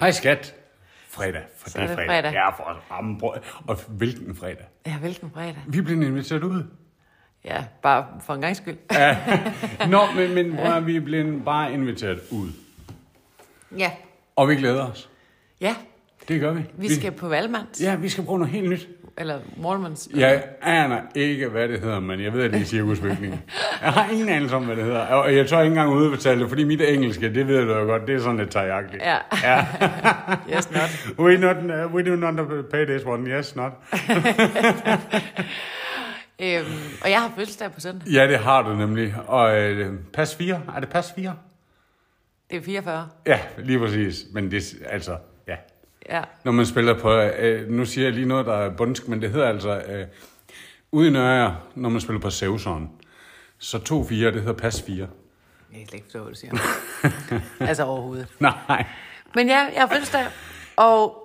Hej skat. Fredag, for Så det er det er fredag. fredag. Ja, for at ramme brød. Og hvilken fredag. Ja, hvilken fredag. Vi blev inviteret ud. Ja, bare for en gang skyld. Nå, men, men prøv, at, vi blev bare inviteret ud. Ja. Og vi glæder os. Ja, Det gør vi. vi skal på Valmands. Ja, vi skal prøve noget helt nyt. Eller Mormons. Jeg aner ikke, hvad det hedder, men jeg ved, at det er cirkusbygningen. Jeg har ingen anelse om, hvad det hedder. Og jeg tør ikke engang udbetale det, fordi mit engelske, det ved du jo godt, det er sådan lidt tajagtigt. Ja. ja. Yes, not. We, not, we do not pay this one, yes not. Øhm, og jeg har fødselsdag på søndag. Ja, det har du nemlig. Og øh, pas 4, er det pas 4? Det er 44. Ja, lige præcis. Men det, altså, ja. Ja. Når man spiller på, øh, nu siger jeg lige noget, der er bundsk, men det hedder altså, øh, ude i Nøjer, når man spiller på Sevson, så 2-4, det hedder pas 4. Jeg kan slet ikke forstå, hvad du siger. altså overhovedet. Nej, Men ja, jeg har fødselsdag, og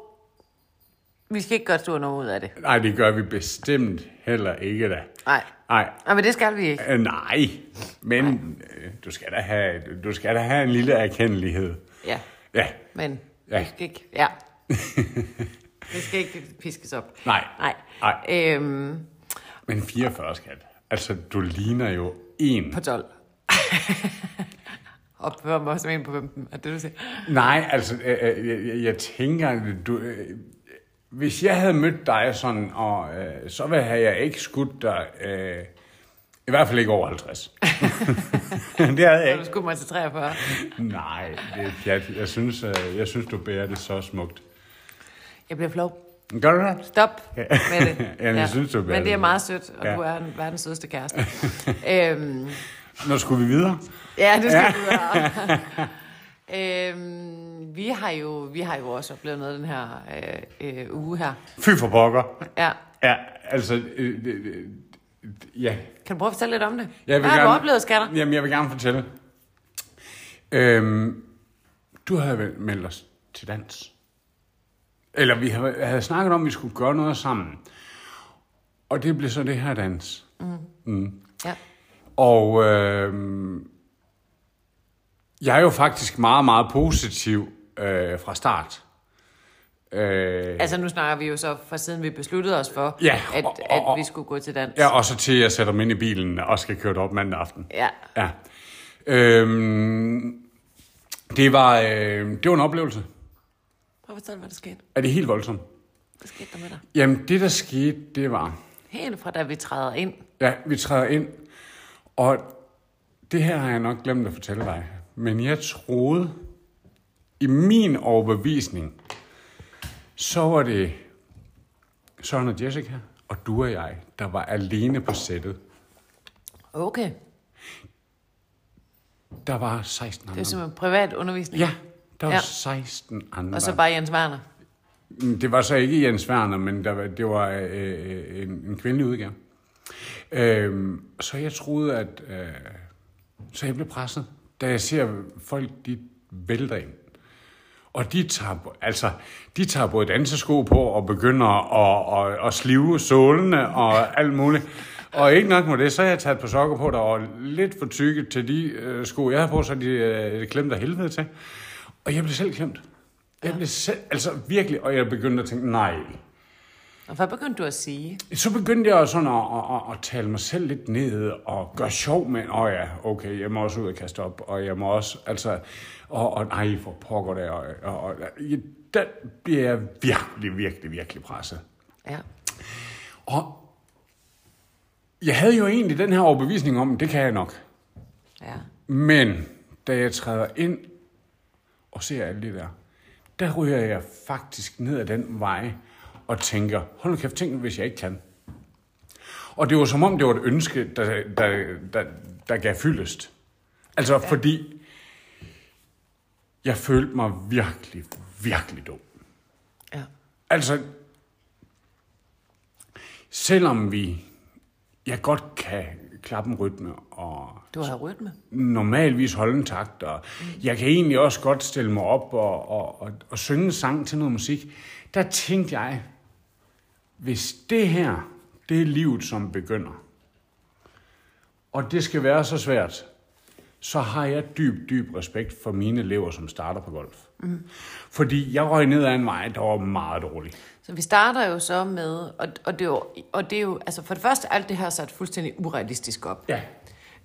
vi skal ikke gøre stor noget ud af det. nej, det gør vi bestemt heller ikke da. Nej. Nej, Nej, men det skal vi ikke. øh, nej, men øh, du, skal da have, du skal da have en lille erkendelighed. Ja, Ja, men Ja. ja. vi skal ikke... Ja. det skal ikke piskes op. Nej. Nej. Nej. Øhm, men 44 skat. Altså, du ligner jo en. på 12. og på mig som en på 15, er det det, du siger? Nej, altså, øh, øh, jeg, jeg, jeg tænker, at du, øh, hvis jeg havde mødt dig sådan, og, øh, så ville have jeg ikke skudt dig, øh, i hvert fald ikke over 50. det havde Så jeg du ikke. skulle mig til 43. Nej, det er pjat. Jeg synes, øh, jeg synes, du bærer det så smukt. Jeg bliver flov. Gør du det? Stop med det. Ja, jeg synes, du er Men det er bedre. meget sødt, og Ja. ja. du er en verdens sødeste kæreste. øhm, Nu skulle vi videre. ja, det skal du være. øhm, vi, har jo, vi har jo også oplevet noget den her øh, øh, uge her. Fy for pokker. Ja. Ja, altså, øh, øh, øh, ja. Kan du prøve at fortælle lidt om det? Jeg Hvad har du oplevet, skatter? Jamen, jeg vil gerne fortælle. Øhm, du havde vel meldt os til dans? Eller vi havde, havde snakket om, at vi skulle gøre noget sammen. Og det blev så det her dans. Ja. Og øhm, jeg er jo faktisk meget, meget positiv øh, fra start. Øh, Altså nu snakker vi jo så fra siden vi besluttede os for, Ja, at, og- og- at og- vi skulle gå til dans. ja, og så til at jeg sætter mig ind i bilen og skal køre det op mandag aften. ja. Ja. Øhm, det, var, øh, det var en oplevelse. Prøv at fortælle, hvad der skete. Er det helt voldsomt? Hvad skete der med dig? Jamen, det der skete, det var... Helt fra da vi træder ind. Ja, vi træder ind, og det her har jeg nok glemt at fortælle dig. Men jeg troede, i min overbevisning, så var det Søren og Jessica, og du og jeg, der var alene på sættet. Okay. Der var 16 Det var andre. simpelthen privat undervisning. Ja, der var Ja. 16 andre. Og så bare Jens Werner. Mm, Det var så ikke Jens Werner, men der, var- det var øh, en, en kvindelig udgave. Øhm, så jeg troede, at... Øh, så jeg blev presset, da jeg ser folk, de vælter ind. Og de tager, bo- altså, de tager både dansesko på og begynder at, at, at slive sålene og alt muligt. Og ikke nok med det, så har jeg taget på sokker på, der var lidt for tykke til de øh, sko, jeg havde på, så de øh, klemte af helvede til. Og jeg blev selv klemt. Jeg blev selv, altså virkelig, og jeg begyndte at tænke, nej. Og hvad begyndte du at sige? Så begyndte jeg også sådan at, at, at, at tale mig selv lidt ned og gøre sjov med, åh ja, okay, jeg må også ud og kaste op, og jeg må også, altså, og, og nej, for pokker der, og, og, og jeg- der bliver jeg virkelig, virkelig, virkelig presset. Ja. Og jeg havde jo egentlig den her overbevisning om, det kan jeg nok. Ja. Men da jeg træder ind og ser alt det der, der ryger jeg faktisk ned ad den vej og tænker, hold nu kæft, tænk nu, hvis jeg ikke kan. Og det var som om, det var et ønske, der, der, der, der gav fyldest. Altså ja. fordi, jeg følte mig virkelig, virkelig dum. Ja. Altså, selvom vi, jeg godt kan klappe en rytme og Du har rytme. normalvis holde en takt, og Mm. jeg kan egentlig også godt stille mig op og, og, og, og synge en sang til noget musik. Der tænkte jeg, hvis det her, det er livet, som begynder, og det skal være så svært, så har jeg dyb, dyb respekt for mine elever, som starter på golf. Mm. Fordi jeg røg ned ad en vej, der var meget dårlig. Så vi starter jo så med, og, og, det, er jo, og det er jo, altså for det første, alt det her er sat fuldstændig urealistisk op. Ja.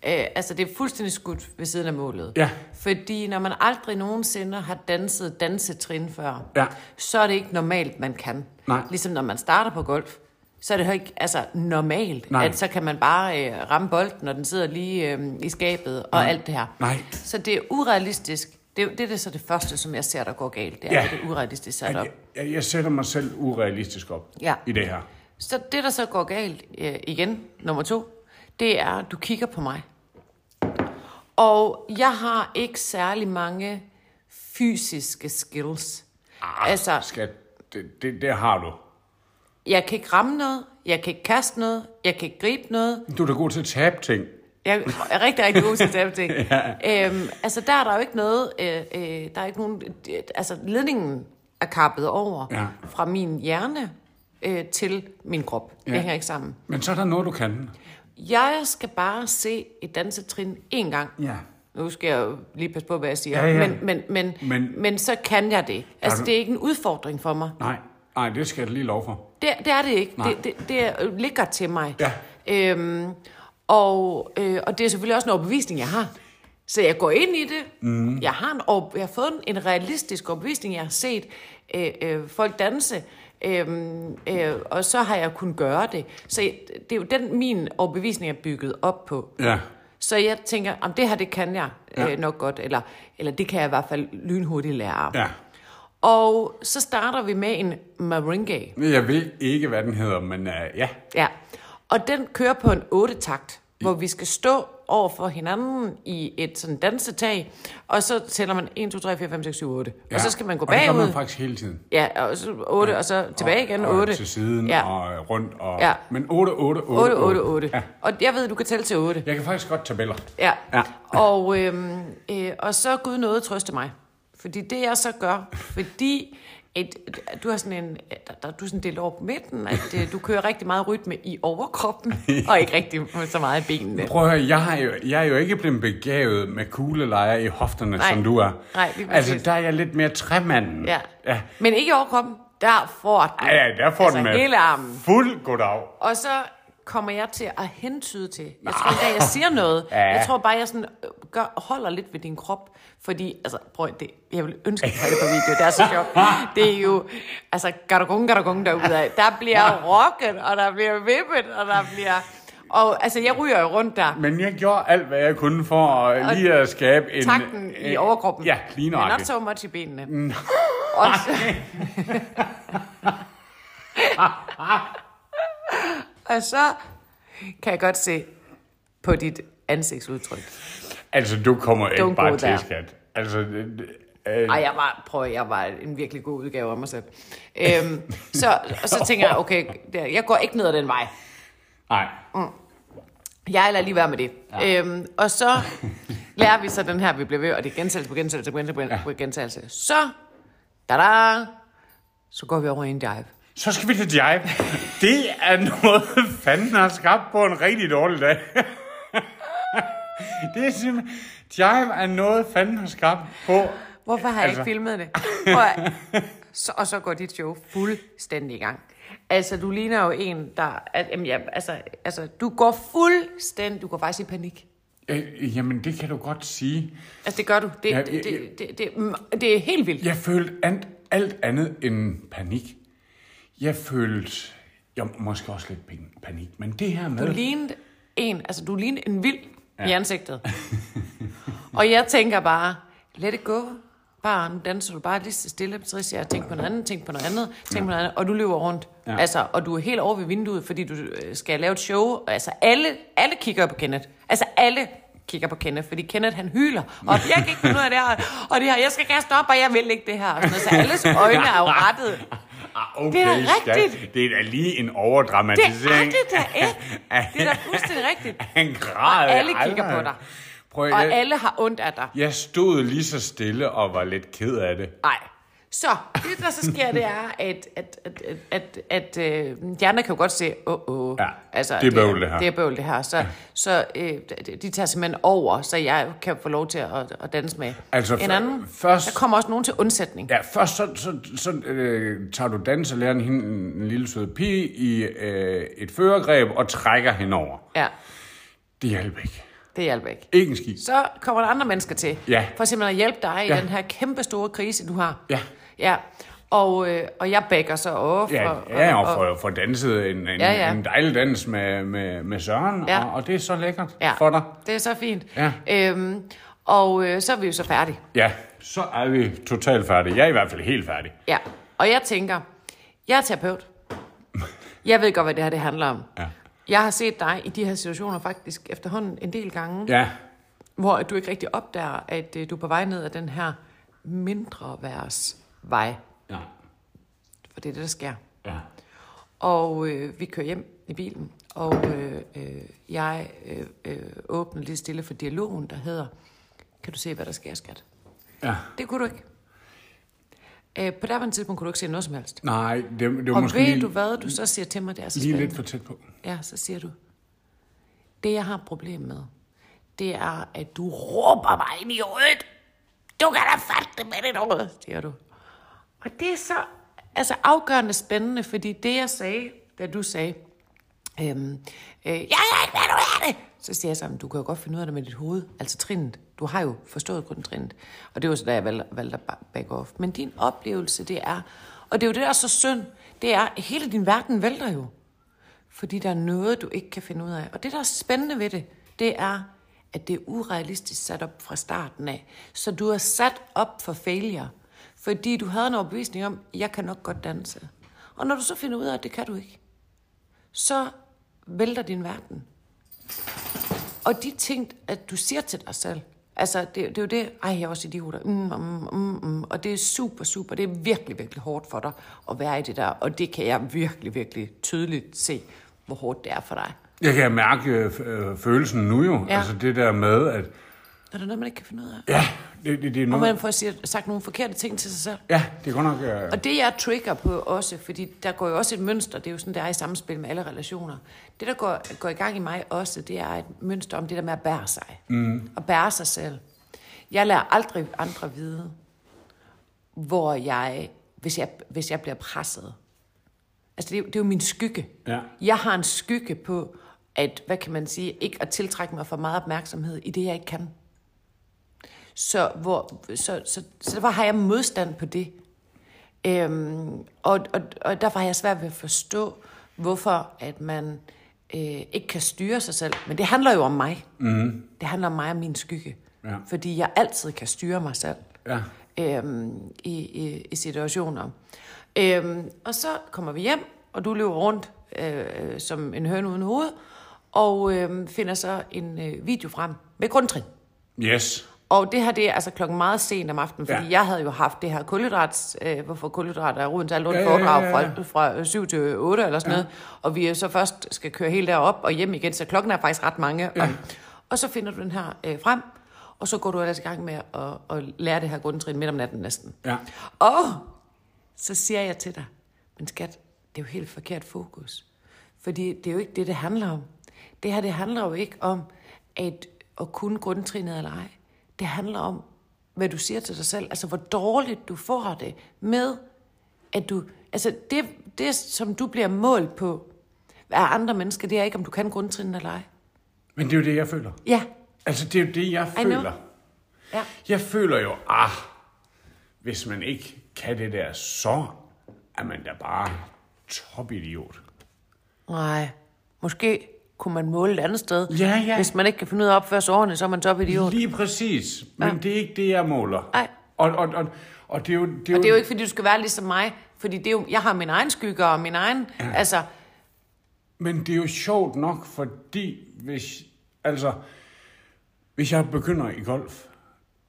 Øh, altså det er fuldstændig skudt ved siden af målet. Ja. Fordi når man aldrig nogensinde har danset dansetrin før, Ja. så er det ikke normalt, man kan. Nej. Ligesom når man starter på golf, så er det jo ikke altså, normalt, Nej. at så kan man bare øh, ramme bolden, når den sidder lige øh, i skabet og alt det her. Nej. Så det er urealistisk. Det, er jo- det er det så det første, som jeg ser, der går galt. Det er Ja. ja. det er urealistisk sat op. Jeg, jeg, jeg sætter mig selv urealistisk op Ja. i det her. Så det, der så går galt øh, igen, nummer to, det er, at du kigger på mig. Og jeg har ikke særlig mange fysiske skills. Arh, Altså- Ah, Skat, det, det, det har du. Jeg kan ikke ramme noget, jeg kan ikke kaste noget, jeg kan ikke gribe noget. Du er da god til at tabe ting. Jeg er rigtig, rigtig god til staveting. ja. øhm, altså, der er der jo ikke noget, øh, øh, der er ikke nogen, øh, altså ledningen er kappet over Ja. fra min hjerne øh, til min krop. Ja. Ja. Det hænger ikke sammen. Men så er der noget, du kan. Jeg skal bare se et dansetrin én gang. Ja. Nu skal jeg jo lige passe på, hvad jeg siger. Ja, ja. Men, men, men, Men- men, men så kan jeg det. Altså, du- det er ikke en udfordring for mig. Nej, nej, det skal jeg lige lov for. Det, det er det ikke. Nej. Det, det, det er- ligger til mig. Ja. Øhm, og, øh, og det er selvfølgelig også en overbevisning, jeg har. Så jeg går ind i det. Mhm. Mm. Jeg, har en over, jeg har fået en, en realistisk overbevisning. Jeg har set øh, øh, folk danse, øhm, øh, og så har jeg kunnet gøre det. Så jeg, det er jo den, min overbevisning er bygget op på. Ja. Så jeg tænker, om det her, det kan jeg Ja. ja. øh, nok godt, eller, eller det kan jeg i hvert fald lynhurtigt lære. Ja. Og så starter vi med en merengue. Jeg ved ikke, hvad den hedder, men uh, ja. Ja. Og den kører på en otte takt, hvor vi skal stå over for hinanden i et sådan dansetag, og så tæller man 1, 2, 3, 4, 5, 6, 7, 8. ja. Og så skal man gå og det gør bagud. man faktisk hele tiden. Ja, og så 8, ja. og så tilbage Og- igen og 8. Til siden ja. og øh, rundt. Og, Ja. Men 8, 8, 8, 8, 8, 8. Ja. Og jeg ved, du kan tælle til 8. Jeg kan faktisk godt tabeller. Ja. Ja. ja. Og, øhm, øh, og så Gud nåede trøste mig. Fordi det jeg så gør, fordi et, du har sådan en, der, der, du er sådan delt over på midten, at øh, du kører rigtig meget rytme i overkroppen, og ikke rigtig så meget i benene. Prøv at høre, jeg, har jo, jeg er jo ikke blevet begavet med kuglelejer i hofterne, Nej. som du er. Nej, lige præcis. altså, der er jeg lidt mere træmanden. Ja. ja. Men ikke i overkroppen, der får den. Ej, ja, der får altså, den med hele armen. fuld goddag. Og så kommer jeg til at hentyde til. Jeg tror ikke, at jeg siger noget. Ja. Ja. Jeg tror bare, jeg sådan øh, gør, holder lidt ved din krop. Fordi, altså, prøv at- det, jeg vil ønske, at jeg havde det på video. Det er så sjovt. Det er jo, altså, garagong, garagong derude af. Der bliver rocket, og der bliver vippet, og der bliver... Og altså, jeg ryger jo rundt der. Men jeg gjorde alt, hvad jeg kunne for at lige at skabe en... Takten i øh, overkroppen. Ja, lige Men not nøjagtigt. Mm. so much i benene. Og så, og så kan jeg godt se på dit ansigtsudtryk. Altså, du kommer ikke Don't bare go til, there. skat. Altså, det- det- øh, Ej, jeg var, prøv, jeg var en virkelig god udgave af mig selv. Øhm, så, og så tænker jeg, okay, der- jeg går ikke ned ad den vej. nej. Jeg lader lige være med det. Ja. Øhm, og så lærer vi så den her, vi bliver ved, og det er gentagelse på gentagelse på gentagelse på gentagelse. Så, da da, så går vi over i en dive. Så skal vi til jive. Det er noget, fanden har skabt på en rigtig dårlig dag. Det er simpelthen... Jive er noget, fanden har skabt på... Hvorfor har jeg Altså- ikke filmet det? Prøv at- så, og så går dit show fuldstændig i gang. Altså, du ligner jo en, der... At, jamen, ja, altså, altså, du går fuldstændig... Du går faktisk i panik. Øh, jamen, det kan du godt sige. Altså, det gør du. Det, Ja, ja, jeg- det, det, det, det, mm, det er helt vildt. Jeg følte alt, alt andet end panik. Jeg følte... Jo, måske også lidt pin- panik, men det her med... Du lignede en... Altså, du lignede en vild ja. i ansigtet. og jeg tænker bare, let it go. Bare, nu danser du bare lige så stille. Så siger jeg, tænk på noget andet, tænk på noget andet, tænk på noget andet. Og du løber rundt. Ja. Ja. Altså, og du er helt over ved vinduet, fordi du øh, skal lave et show. Og Altså, alle, alle kigger på Kenneth. Altså, alle kigger på Kenneth, fordi Kenneth han hyler, og jeg kan ikke finde ud af det her, og det her, jeg skal kaste op, og jeg vil ikke det her, og sådan noget. så alles øjne er jo rettet Ah, okay, Det er da skat. rigtigt. Det er da lige en Det overdramatisering. er det da ikke. Det er da fuldstændig rigtigt. Han græd. Og alle kigger på dig. Prøv, Og jeg, alle har ondt af dig. jeg stod lige så stille og var lidt ked af det. Nej. Så, det der så sker, det er, at, at, at, at, at, at øh, de andre kan jo godt se, åh, oh, oh. Ja, det er bøvl, det her. Det er bøvl, det her. Så, ja. så øh, de- de tager simpelthen over, så jeg kan få lov til at, at danse med Altså, en før- anden. først- Der kommer også nogen til undsætning. Ja, først så, så, så øh, tager du danselæreren hende, en lille sød pige, i øh, et førergreb og trækker hende over. Ja, Det hjælper ikke. det hjælper ikke. Ikke en skid. Så kommer der andre mennesker til, Ja. for simpelthen at hjælpe dig ja. Ja. i den her kæmpe store krise, du har. Ja. ja. Og, øh, og jeg bækker så op. Ja, og, ja og får, får danset en, en, Ja, ja. en dejlig dans med, med, med Søren, Ja. og, og det er så lækkert ja, for dig. Det er så fint. Ja. Øhm, og øh, så er vi jo så færdige. Ja, så er vi totalt færdige. Jeg er i hvert fald helt færdig. Ja, og jeg tænker, jeg er terapeut. Jeg ved godt, hvad det her det handler om. Ja. Jeg har set dig i de her situationer faktisk efterhånden en del gange, Ja, hvor du ikke rigtig opdager, at øh, du er på vej ned ad den her mindre værds vej. ja, For det er det, der sker. ja. Og øh, vi kører hjem i bilen, og øh, øh, jeg øh, øh, åbner lige stille for dialogen, der hedder, kan du se, hvad der sker, skat? ja. Det kunne du ikke. Øh, på daværende tidspunkt kunne du ikke se noget som helst. Nej, det, det var Og måske ved lige, du hvad, du så siger til mig, det er så lige spændende. lidt for tæt på. Ja, så siger du, det jeg har et problem med, det er, at du råber mig ind i hovedet. Du kan da fatte det med dit hoved, siger du. Og det er så altså afgørende spændende, fordi det jeg sagde, da du sagde, øhm, øh, jeg kan ikke være, du er det. Så siger jeg sammen, du kan jo godt finde ud af det med dit hoved, altså trinet. Du har jo forstået kun trinet. Og det var så da jeg valgte, valgte at ba- back off. Men din oplevelse, det er, og det er jo det, der er så synd, det er, at hele din verden vælter jo. Fordi der er noget, du ikke kan finde ud af. Og det, der er spændende ved det, det er, at det er urealistisk sat op fra starten af. Så du er sat op for failure. Fordi du havde en overbevisning om, jeg kan nok godt danse. Og når du så finder ud af, at det kan du ikke, så vælter din verden. Og de ting, at du siger til dig selv, altså det, det er jo det, ej jeg er også idioter, mm, mm, mm, mm, og det er super, super, det er virkelig, virkelig hårdt for dig at være i det der, og det kan jeg virkelig, virkelig tydeligt se, hvor hårdt det er for dig. Jeg kan mærke øh, øh, følelsen nu jo. Ja. Ja. Altså det der med, at Er der noget, man ikke kan finde ud af? ja, det, det, det er Og noget... man får siger- sagt nogle forkerte ting til sig selv. Ja, det er godt nok... Øh, Og det, jeg trigger på også, fordi der går jo også et mønster, det er jo sådan, det er i samspil med alle relationer. Det, der går, går i gang i mig også, det er et mønster om det der med at bære sig. Mm. At bære sig selv. Jeg lader aldrig andre vide, hvor jeg, hvis jeg, hvis jeg bliver presset. Altså, det er, jo- det er jo min skygge. Ja. Jeg har en skygge på, at, hvad kan man sige, ikke at tiltrække mig for meget opmærksomhed i det, jeg ikke kan. Så, hvor, så, så, så derfor har jeg modstand på det. Øhm, og, og, og derfor har jeg svært ved at forstå, hvorfor at man øh, ikke kan styre sig selv. Men det handler jo om mig. Mm. Det handler om mig og min skygge. Ja. Fordi jeg altid kan styre mig selv ja. øhm, i, i, i situationer. Øhm, og så kommer vi hjem, og du løber rundt øh, øh, som en høne uden hoved, og øh, finder så en øh, video frem med grundtrin. Yes. Og det her, det er altså klokken meget sent om aftenen, fordi ja. Ja. jeg havde jo haft det her kulhydrats, øh, hvorfor kulhydrater er roden til alt ondt Ja, ja, ja, foredrag ja, ja. fra, fra 7 til 8 eller sådan ja. noget, og vi er så først skal køre helt derop og hjem igen, så klokken er faktisk ret mange. Ja. Og, og så finder du den her øh, frem, og så går du ellers i gang med at, at lære det her grundtrin midt om natten næsten. Ja. Og så siger jeg til dig, men skat, det er jo helt forkert fokus. Fordi det er jo ikke det, det handler om. Det her, det handler jo ikke om at, at kunne grundtrinet eller ej. Det handler om, hvad du siger til dig selv. Altså, hvor dårligt du får det med, at du... Altså, det, det som du bliver målt på af andre mennesker, det er ikke, om du kan grundtrinet eller ej. Men det er jo det, jeg føler. Ja, Altså, det er jo det, jeg I know. føler. ja. Jeg føler jo, ah, hvis man ikke kan det der, så er man da bare topidiot. Nej, måske kunne man måle et andet sted. Ja, ja. Hvis man ikke kan finde ud af at opføre sig ordentligt, så er man topidiot. Lige præcis. Men det er ikke det, jeg måler. Nej. Og, og, og, og det er jo... Det er Og det er jo ikke, fordi du skal være ligesom mig, fordi det er jo, jeg har min egen skygge og min egen, ja. altså, Men det er jo sjovt nok, fordi hvis, altså, hvis jeg begynder i golf,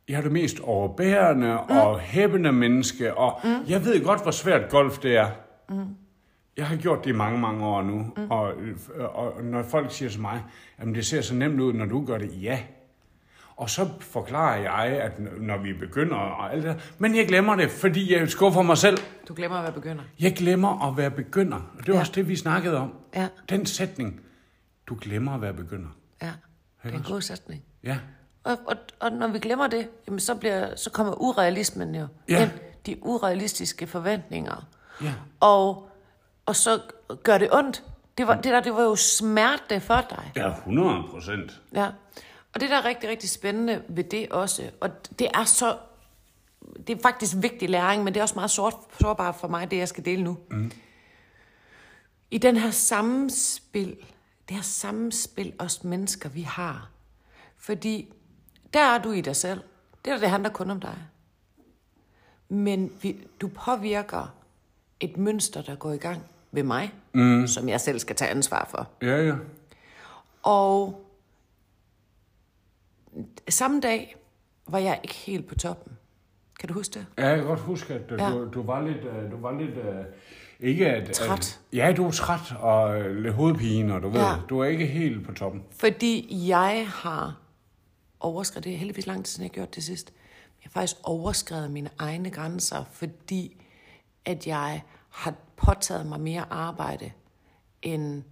jeg er det mest overbærende mm. og hæppende menneske, og mm. jeg ved godt, hvor svært golf det er. Mm. Jeg har gjort det i mange, mange år nu, mm. og, og når folk siger til mig, at det ser så nemt ud, når du gør det, ja. Og så forklarer jeg, at n- når vi begynder og alt det der, men jeg glemmer det, fordi jeg skuffer mig selv. Du glemmer at være begynder. Jeg glemmer at være begynder. Og det var Ja. også det, vi snakkede om. Ja. Den sætning, du glemmer at være begynder. Ja, det er en god sætning. Ja, Og, og, og når vi glemmer det, jamen så, bliver, så kommer urealismen jo. Ja. ind. De urealistiske forventninger. ja, Og, og så gør det ondt. Det, var, det der, det var jo smerte for dig. ja 100 procent. Ja. Og det, der er rigtig, rigtig spændende ved det også, og det er så... Det er faktisk vigtig læring, men det er også meget sort, sårbart for mig, det jeg skal dele nu. Mm. I den her sammenspil, det her sammenspil os mennesker, vi har. Fordi der er du i dig selv. Det der, det handler kun om dig. Men vi, du påvirker et mønster, der går i gang ved mig, mm. som jeg selv skal tage ansvar for. Ja, ja. Og samme dag var jeg ikke helt på toppen. Kan du huske det? Ja, jeg kan godt huske, at øh, Ja. du, du var lidt... øh, Du var lidt øh, ikke at, Træt. At, ja, du var træt og øh, lidt hovedpine, og du ved, Ja. du er ikke helt på toppen. Fordi jeg har overskrevet, det er heldigvis lang tid siden, jeg har gjort det sidst, jeg har faktisk overskrevet mine egne grænser, fordi at jeg har påtaget mig mere arbejde, end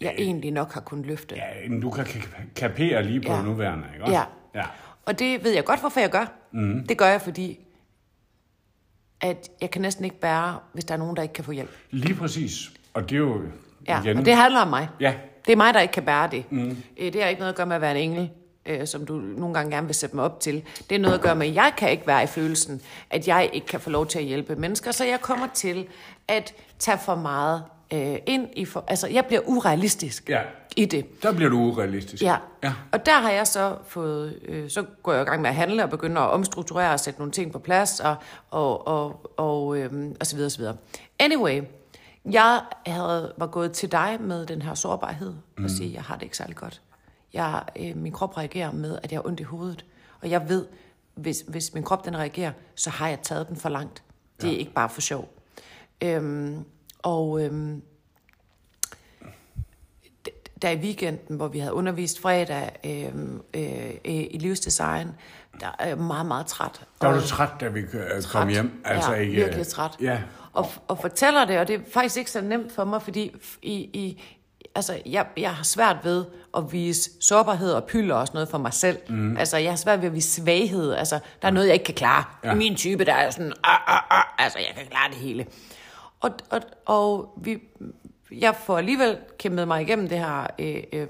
jeg egentlig nok har kunnet løfte. Ja, men du kan ka- kapere lige på Ja. ja. nuværende, ikke også? Ja. ja. Og det ved jeg godt, hvorfor jeg gør. Mm. Det gør jeg, fordi at jeg kan næsten ikke bære, hvis der er nogen, der ikke kan få hjælp. Lige præcis. Og det er jo Ja, igen... og det handler om mig. Ja. Det er mig, der ikke kan bære det. Mm. Det har ikke noget at gøre med at være en engel, øh, som du nogle gange gerne vil sætte mig op til. Det er noget at gøre med, at jeg kan ikke være i følelsen, at jeg ikke kan få lov til at hjælpe mennesker, så jeg kommer til at tage for meget øh, ind i... For, altså, jeg bliver urealistisk Ja. i det. Der bliver du urealistisk. Ja. ja. Og der har jeg så fået, øh, så går jeg i gang med at handle og begynder at omstrukturere og sætte nogle ting på plads og, og, og, og, øh, og så videre, og så videre. Anyway, jeg havde, var gået til dig med den her sårbarhed mm. og sige, jeg har det ikke særlig godt. Jeg, øh, min krop reagerer med, at jeg har ondt i hovedet. Og jeg ved, hvis, hvis min krop den reagerer, så har jeg taget den for langt. Det er ikke bare for sjov. Øhm, og øhm, der i weekenden, hvor vi havde undervist fredag øh, øh, øh, i livsdesign, der er jeg meget, meget træt. Der var Og- du træt, da vi øh, kom hjem. Altså ja, ikke, virkelig træt. Ja. Og, og fortæller det, og det er faktisk ikke så nemt for mig, fordi f- i, i, altså, jeg, jeg har svært ved at vise sårbarhed og pylder og sådan noget for mig selv. Mm. Altså, jeg har svært ved at vise svaghed. Altså, der er noget, jeg ikke kan klare. Ja. Min type, der er jo sådan, ah, ah, ah, altså, jeg kan klare det hele. Og, og, og vi, jeg får alligevel kæmpet mig igennem det her øh, øh,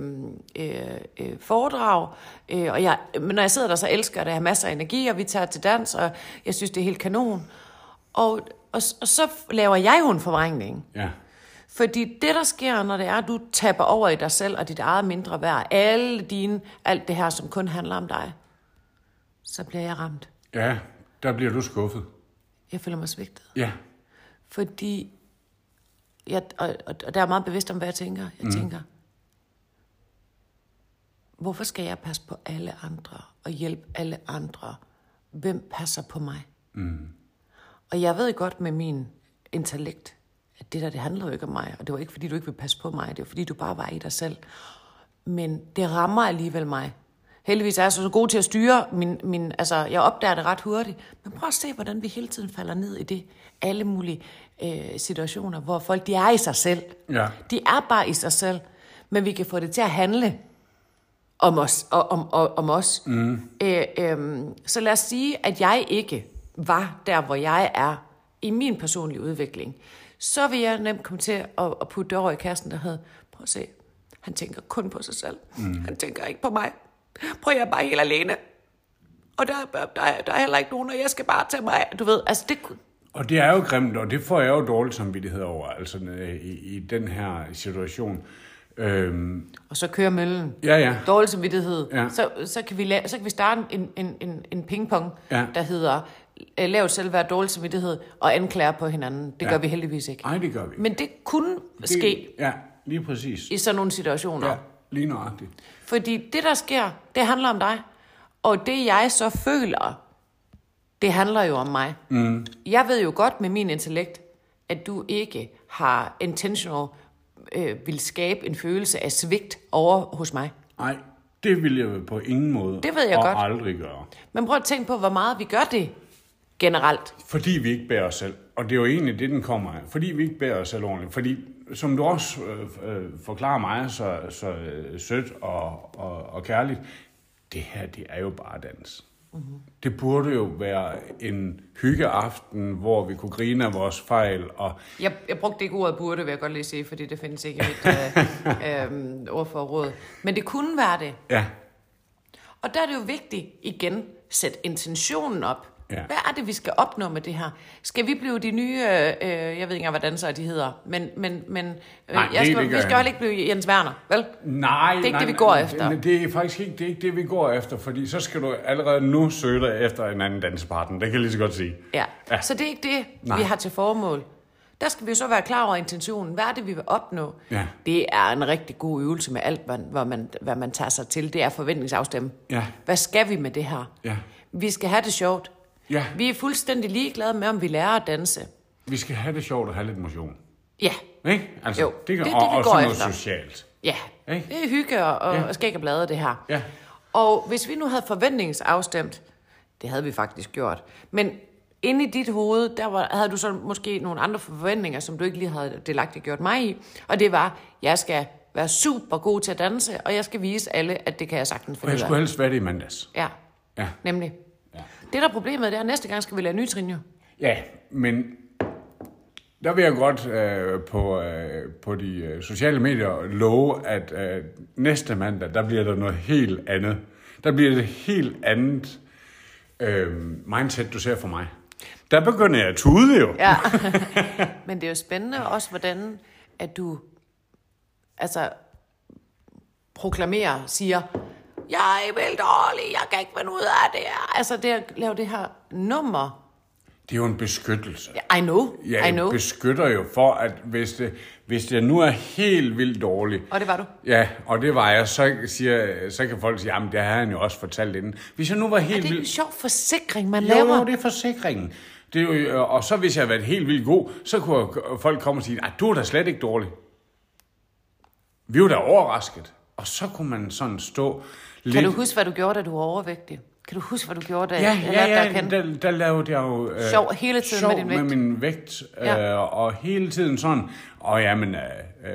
øh, øh, foredrag, øh, og jeg, men når jeg sidder der, så elsker jeg det, jeg har masser af energi, og vi tager til dans, og jeg synes, det er helt kanon. Og, og, og så laver jeg jo en forvrængning. ja. Fordi det, der sker, når det er, at du tapper over i dig selv og dit eget mindre værd, alle dine, alt det her, som kun handler om dig, så bliver jeg ramt. Ja, der bliver du skuffet. Jeg føler mig svigtet. Ja. Fordi, jeg, og, og, og der er jeg meget bevidst om, hvad jeg tænker. Jeg mm. tænker, hvorfor skal jeg passe på alle andre og hjælpe alle andre? Hvem passer på mig? Mm. Og jeg ved godt med min intellekt, at det der, det handler jo ikke om mig. Og det var ikke, fordi du ikke vil passe på mig. Det var, fordi du bare var i dig selv. Men det rammer alligevel mig. Heldigvis er jeg så god til at styre min, min... Altså, jeg opdager det ret hurtigt. Men prøv at se, hvordan vi hele tiden falder ned i det. Alle mulige øh, situationer, hvor folk, de er i sig selv. Ja. De er bare i sig selv. Men vi kan få det til at handle om os. Og, om, og, om os. Mm. Øh, øh, så lad os sige, at jeg ikke var der, hvor jeg er i min personlige udvikling. Så vil jeg nemt komme til at, at putte det over i kassen, der hed, prøv at se, han tænker kun på sig selv. Mm. Han tænker ikke på mig. Prøv, jeg er bare helt alene. Og der, der, der, er- der er heller ikke nogen, og jeg skal bare tage mig af. Du ved, altså det... kunne- Og det er jo grimt, og det får jeg jo dårlig samvittighed over, altså øh, i, i den her situation. Øhm, Og så kører møllen. ja, ja. dårlig samvittighed, ja. Ja. så, så, kan vi la- så kan vi starte en, en, en, en pingpong, ja. Ja. der hedder øh, lavt selvværd, dårlig samvittighed og anklager på hinanden. Det ja. Ja. gør vi heldigvis ikke. Ej, det gør vi. Men det kunne det... Det- ske Ja, lige præcis. i sådan nogle situationer. Ja. Ja, lige nøjagtigt. Fordi det, der sker, det handler om dig. Og det, jeg så føler, det handler jo om mig. Mm. Jeg ved jo godt med min intellekt, at du ikke har intentional øh, vil skabe en følelse af svigt over hos mig. Nej, Det ville jeg på ingen måde Det ved jeg og godt. aldrig gøre. Men prøv at tænke på, hvor meget vi gør det generelt. Fordi vi ikke bærer os selv. Og det er jo egentlig det, den kommer af. Fordi vi ikke bærer os selv ordentligt. Fordi, som du også øh, øh, forklarer mig så, så øh, sødt og, og, og kærligt, det her, det er jo bare dans. Mm-hmm. Det burde jo være en hyggeaften, hvor vi kunne grine af vores fejl. Og Jeg, jeg brugte ikke ordet burde, vil jeg godt lige sige, fordi det findes ikke i mit øh, øh, ordforråd. Men det kunne være det. ja, Og der er det jo vigtigt igen, sæt intentionen op. Ja. Hvad er det, vi skal opnå med det her? Skal vi blive de nye, øh, øh, jeg ved ikke engang, hvad dansere de hedder, men, men, men øh, Nej, det- jeg skal, det gør vi skal jeg jo ikke blive Jens Werner, vel? nej, Det er ikke nej, det, vi nej, går nej, efter. Det, det er faktisk ikke det, er ikke det, vi går efter. Fordi så skal du allerede nu søge dig efter en anden dansepartner. Det kan jeg lige så godt sige. Ja. Ja. ja. Så det er ikke det, Nej. vi har til formål. Der skal vi jo så være klar over intentionen. Hvad er det, vi vil opnå? Ja. Det er en rigtig god øvelse med alt, hvad, hvad, man, hvad man tager sig til. Det er forventningsafstemme. Ja. Hvad skal vi med det her? Ja. Vi skal have det sjovt. Ja. Vi er fuldstændig ligeglade med, om vi lærer at danse. Vi skal have det sjovt og have lidt motion. Ja, Ikke? Altså, Jo, det, kan, det er og, det, vi og går sådan noget efter. socialt. ja. Ikke? Det er hygge og, og, Ja. og skæg og blade, det her. Ja. Og hvis vi nu havde forventningsafstemt, det havde vi faktisk gjort, men inde i dit hoved, der var, havde du så måske nogle andre forventninger, som du ikke lige havde delagtigt gjort mig i, og det var, jeg skal være super god til at danse, og jeg skal vise alle, at det kan jeg sagtens Og finde jeg ud skulle af. helst være det i mandags. Ja, Ja. nemlig. Ja. Det, der er problemet, det er, at næste gang skal vi lave nye trin, jo. Ja, men der vil jeg godt øh, på, øh, på de øh, sociale medier love, at øh, næste mandag, der bliver der noget helt andet. Der bliver det helt andet øh, mindset, du ser for mig. Der begynder jeg at tude jo. Ja. Men det er jo spændende også, hvordan at du altså, proklamerer, siger, jeg er vildt dårlig, jeg kan ikke finde ud af det her. Altså det at lave det her nummer. Det er jo en beskyttelse. I know, Jeg I know. beskytter jo for, at hvis, det, hvis det nu er helt vildt dårligt, Og det var du. Ja, og det var jeg. Så, siger, så kan folk sige, jamen det har han jo også fortalt inden. Hvis jeg nu var helt Det er en vildt... sjov forsikring, man Jo, jo, laver. det er forsikringen. Det er jo, øh, og så hvis jeg havde været helt vildt god, så kunne jeg- folk komme og sige, at du er da slet ikke dårlig. Vi var da overrasket. Og så kunne man sådan stå lidt... Kan du huske, hvad du gjorde, da du var overvægtig? Kan du huske, hvad du gjorde, da Ja, jeg lærte dig ja, at ja, kende? der, der lavede jeg jo... Øh, Sjov hele tiden sjov med din vægt. med min vægt. Øh, Ja. Og hele tiden sådan, og jamen, øh, øh,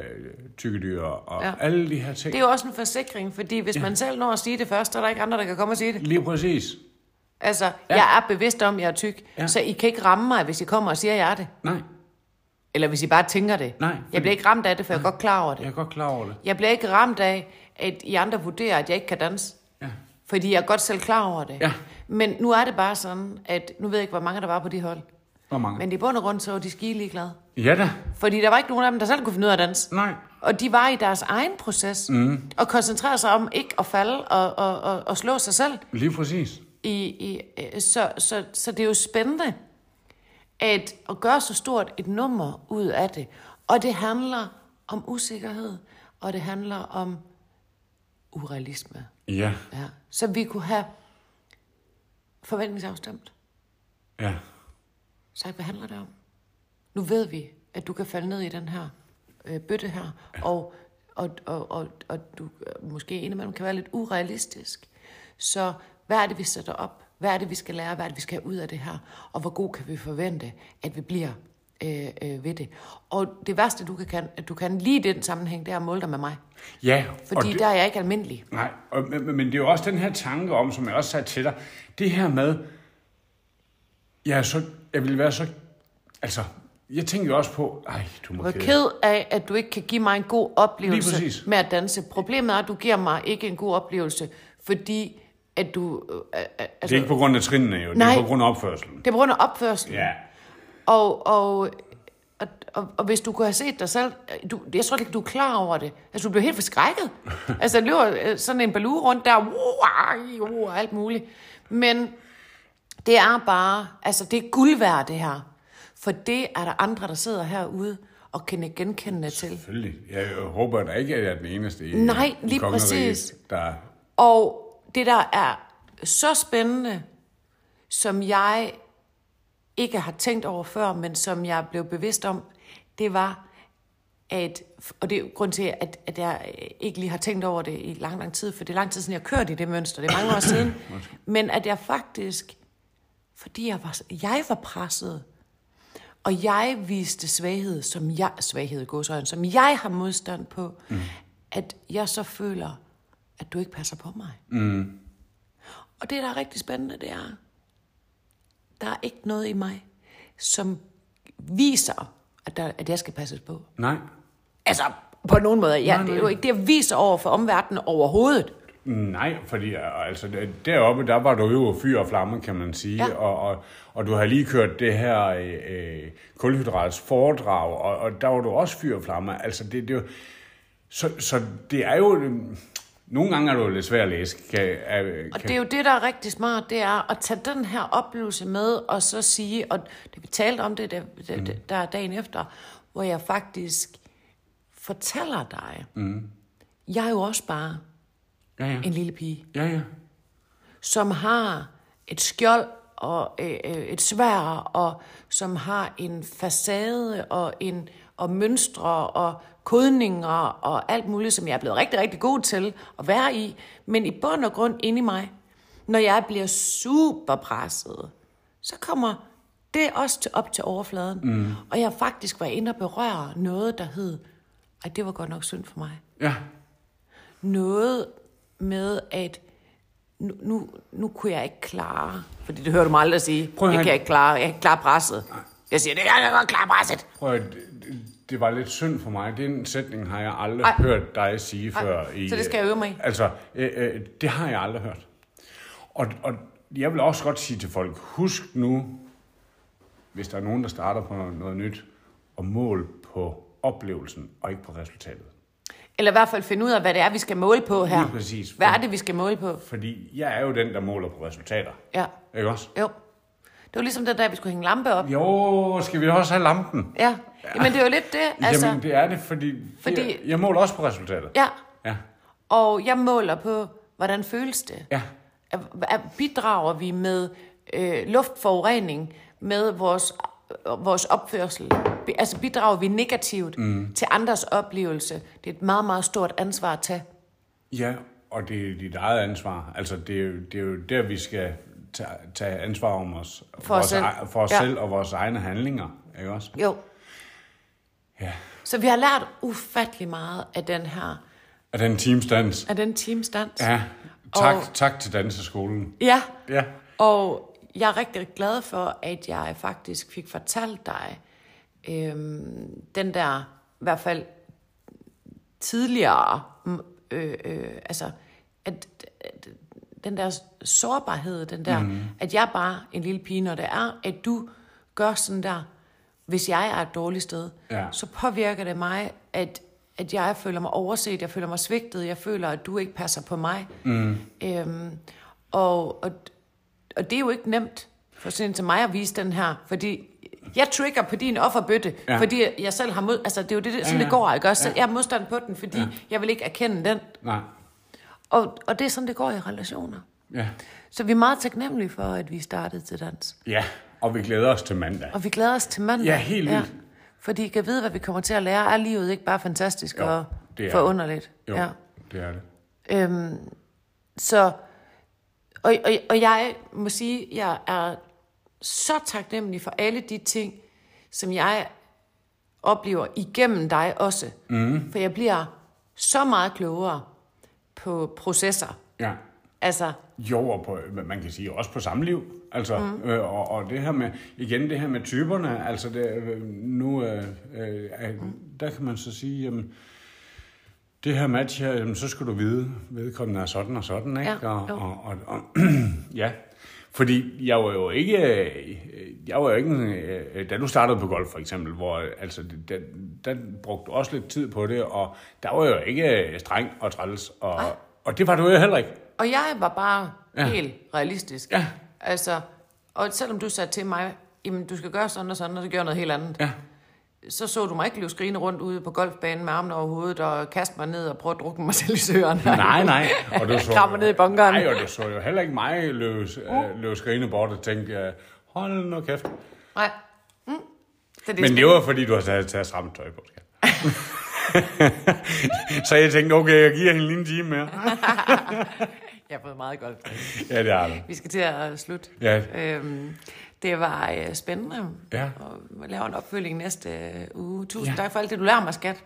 tykkedyr og ja. Ja. alle de her ting. Det er jo også en forsikring, fordi hvis man selv når at sige det først, så er der ikke andre, der kan komme og sige det. Lige præcis. Altså, ja. jeg er bevidst om, at jeg er tyk, Ja. ja. så I kan ikke ramme mig, hvis I kommer og siger, at jeg er det. Nej, Eller hvis I bare tænker det. Nej, fordi- Jeg bliver ikke ramt af det, for jeg er godt klar over jeg det. er godt klar over det. Jeg bliver ikke ramt af, at I andre vurderer, at jeg ikke kan danse. Ja. Fordi jeg er godt selv klar over det. Ja. Men nu er det bare sådan, at nu ved jeg ikke, hvor mange der var på de hold. Hvor mange? Men... Men i bund og grund, så var de skige ligeglade. Ja da. Fordi der var ikke nogen af dem, der selv kunne finde ud af at danse. Nej. Og de var i deres egen proces. Mhm. Mm. Og koncentrerede sig om ikke at falde og, og, og, og slå sig selv. Lige præcis. I, i, øh, så, så, så det er jo spændende at, at gøre så stort et nummer ud af det. Og det handler om usikkerhed, og det handler om urealisme. Ja, Ja. Så vi kunne have forventningsafstemt. ja. Så hvad handler det om? Nu ved vi, at du kan falde ned i den her øh, bøtte her, og, og, og, og, og du øh, måske indimellem kan være lidt urealistisk. Så hvad er det, vi sætter op? Hvad er det, vi skal lære? Hvad er det, vi skal have ud af det her? Og hvor god kan vi forvente, at vi bliver øh, øh, ved det? Og det værste, du kan, kan, du kan lige i den sammenhæng, det er at måle dig med mig. Ja, og Fordi det, der er jeg ikke almindelig. nej, og, men, men det er jo også den her tanke om, som jeg også sagde til dig, det her med, jeg, er så, jeg ville være så, altså, jeg tænker jo også på, ej, du må Jeg er ked af, at du ikke kan give mig en god Lige oplevelse præcis. med at danse. Problemet er, at du giver mig ikke en god oplevelse, fordi at du... Øh, øh, Det er altså, ikke på grund af trinene jo, det Nej. er på grund af opførselen. det er på grund af opførsel. Ja, Og, og, og, og, og hvis du kunne have set dig selv... Du, jeg tror ikke, du er klar over det. Altså, du bliver helt forskrækket. altså, der løber øh, sådan en balue rundt der, wow, wow, alt muligt. Men det er bare... Altså, det er guld værd, det her. For det er der andre, der sidder herude og kan ikke genkende til. selvfølgelig. Jeg håber da ikke, at jeg er den eneste i Nej, lige kongeriget, præcis. Der, Og det, der er så spændende, som jeg ikke har tænkt over før, men som jeg blev bevidst om, det var, at, og det er jo grund til, at, at jeg ikke lige har tænkt over det i lang, lang tid, for det er lang tid siden, jeg kørte i det mønster, det er mange år siden, men at jeg faktisk, fordi jeg var, jeg var presset, og jeg viste svaghed, som jeg, svaghed i godsøjne, som jeg har modstand på, mm. at jeg så føler, at du ikke passer på mig. Mm. Og det, der er rigtig spændende, det er, der er ikke noget i mig, som viser, at, der, at jeg skal passes på. Nej. Altså, på nogen måde. Ja, Nej, det er nej. jo ikke det, jeg viser over for omverdenen overhovedet. Nej, fordi øh, altså, deroppe, der var du jo fyr og flamme, kan man sige, Ja. ja. og, og, og du har lige kørt det her øh, øh, kulhydrats foredrag, og, og der var du også fyr og flamme. Altså, det, det er jo, så, så det er jo... øh, Nogle gange er du lidt svær at læse. Kan, øh, Og kan, det er jo det, der er rigtig smart, det er at tage den her oplevelse med, og så sige, og det, vi talte om det, der, mm. der er dagen efter, hvor jeg faktisk fortæller dig, mm. jeg er jo også bare ja, ja. en lille pige. ja, ja. som har et skjold og øh, øh, et svær, og som har en facade og, en, og mønstre og kodninger og alt muligt, som jeg er blevet rigtig, rigtig god til at være i. Men i bund og grund inde i mig, når jeg bliver super presset, så kommer det også til, op til overfladen. Mm. Og jeg faktisk var inde og berøre noget, der hed, at det var godt nok synd for mig Ja, noget med, at nu, nu, nu kunne jeg ikke klare, fordi det hører du mig aldrig sige, Prøv at jeg høre. kan ikke klare, jeg kan ikke klare presset. Jeg siger, det jeg kan godt klare presset. prøv at, det, det var lidt synd for mig. Den sætning har jeg aldrig Ej. Ej. hørt dig sige Ej. før. I, Så det skal jeg øve mig i. Altså, øh, øh, det har jeg aldrig hørt. Og, og jeg vil også godt sige til folk, husk nu, hvis der er nogen, der starter på noget nyt, og mål på oplevelsen og ikke på resultatet. Eller i hvert fald finde ud af, hvad det er, vi skal måle på her. Lige præcis. Hvad er det, vi skal måle på? Fordi jeg er jo den, der måler på resultater. Ja, Ikke også? jo. Det var ligesom det der, vi skulle hænge lampe op. Jo, skal vi også have lampen? Ja, men det er jo lidt det, altså. Jamen, det er det, fordi, Fordi- fordi... Jeg, jeg måler også på resultatet. Ja, Ja. og jeg måler på, hvordan føles det? Ja. Er- er- Bidrager vi med øh, luftforurening, med vores, øh, vores opførsel? Bi- Altså bidrager vi negativt mm. til andres oplevelse? Det er et meget, meget stort ansvar at tage. Ja, og det er dit eget ansvar. Altså, det er jo, det er jo der, vi skal tage, tage ansvar om os. For os vores selv. eg- for os Ja. ja. selv og vores egne handlinger, ikke også? Jo. Ja. Så vi har lært ufattelig meget af den her, Og den teamstans. af den teamstans. Ja, tak, Og- og... tak til danseskolen. ja. Ja. Og jeg er rigtig glad for, at jeg faktisk fik fortalt dig øhm, den der, i hvert fald tidligere, mm, øh, øh, altså, at, at den der sårbarhed, den der, mm. at jeg er bare en lille pige, når det er, at du gør sådan der, hvis jeg er et dårligt sted, Ja. så påvirker det mig, at, at jeg føler mig overset, jeg føler mig svigtet, jeg føler, at du ikke passer på mig. Mm. Øhm, og, og, og det er jo ikke nemt for sådan en til mig at vise den her, fordi jeg trigger på din offerbøtte, ja. Ja. fordi jeg selv har mod... Altså, det er jo det, sådan Ja, det ja. går, ikke også? Ja. Jeg er modstand på den, fordi ja. jeg vil ikke erkende den. Nej. Og, og det er sådan, det går i relationer. Ja. Så vi er meget taknemmelige for, at vi startede til dans. ja, og vi glæder os til mandag. Og vi glæder os til mandag. Ja, helt vildt. Fordi I kan vide, hvad vi kommer til at lære. Er livet ikke bare fantastisk Jo, og det er forunderligt? Jo, Ja. det er det. Øhm, så, og, og, og jeg må sige, jeg er så taknemmelig for alle de ting, som jeg oplever igennem dig også. Mm. For jeg bliver så meget klogere på processer. Ja. Altså, Jo, og på, men man kan sige også på samliv. Altså, mm. øh, og, og det her med, igen det her med typerne, altså det, øh, nu, øh, øh, øh, der kan man så sige, jamen, det her match her, jamen, så skal du vide, vedkommende er sådan og sådan, ikke? Ja, og, jo. og, og, og, ja, fordi jeg var jo ikke, øh, jeg var jo ikke, en, øh, da du startede på golf for eksempel, hvor øh, altså, det- der, der brugte du også lidt tid på det, og der var jo ikke øh, streng og træls, og, og det var du jo heller ikke. og jeg var bare ja. Ja. helt realistisk. Ja. Altså, og selvom du sagde til mig, jamen du skal gøre sådan og sådan, og så gør jeg noget helt andet. Ja. så så du mig ikke løbe skrigende rundt ude på golfbanen med armene over hovedet og kaste mig ned og prøve at drukne mig selv i søren. Nej, nej. Og du Krammer ned i bunkeren. Nej, og du så jo heller ikke mig løbe, uh. løbe skrigende bort og tænke, øh, hold nu kæft. Nej. Mm. Så det, Men det var, fordi du havde taget stramt tøj på, skat. så jeg tænkte, okay, jeg giver hende lige en time mere. Jeg har fået meget godt. ja, det har du. Vi skal til at slutte. Ja. Øhm, det var øh, spændende. Ja. Og vi laver en opfølging næste øh, uge. Tusind ja. tak for alt det, du lærer mig, skat.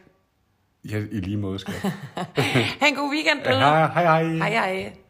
ja, i lige måde, skat. Ha' en god weekend, Ja, døde. hej, hej. Hej, hej.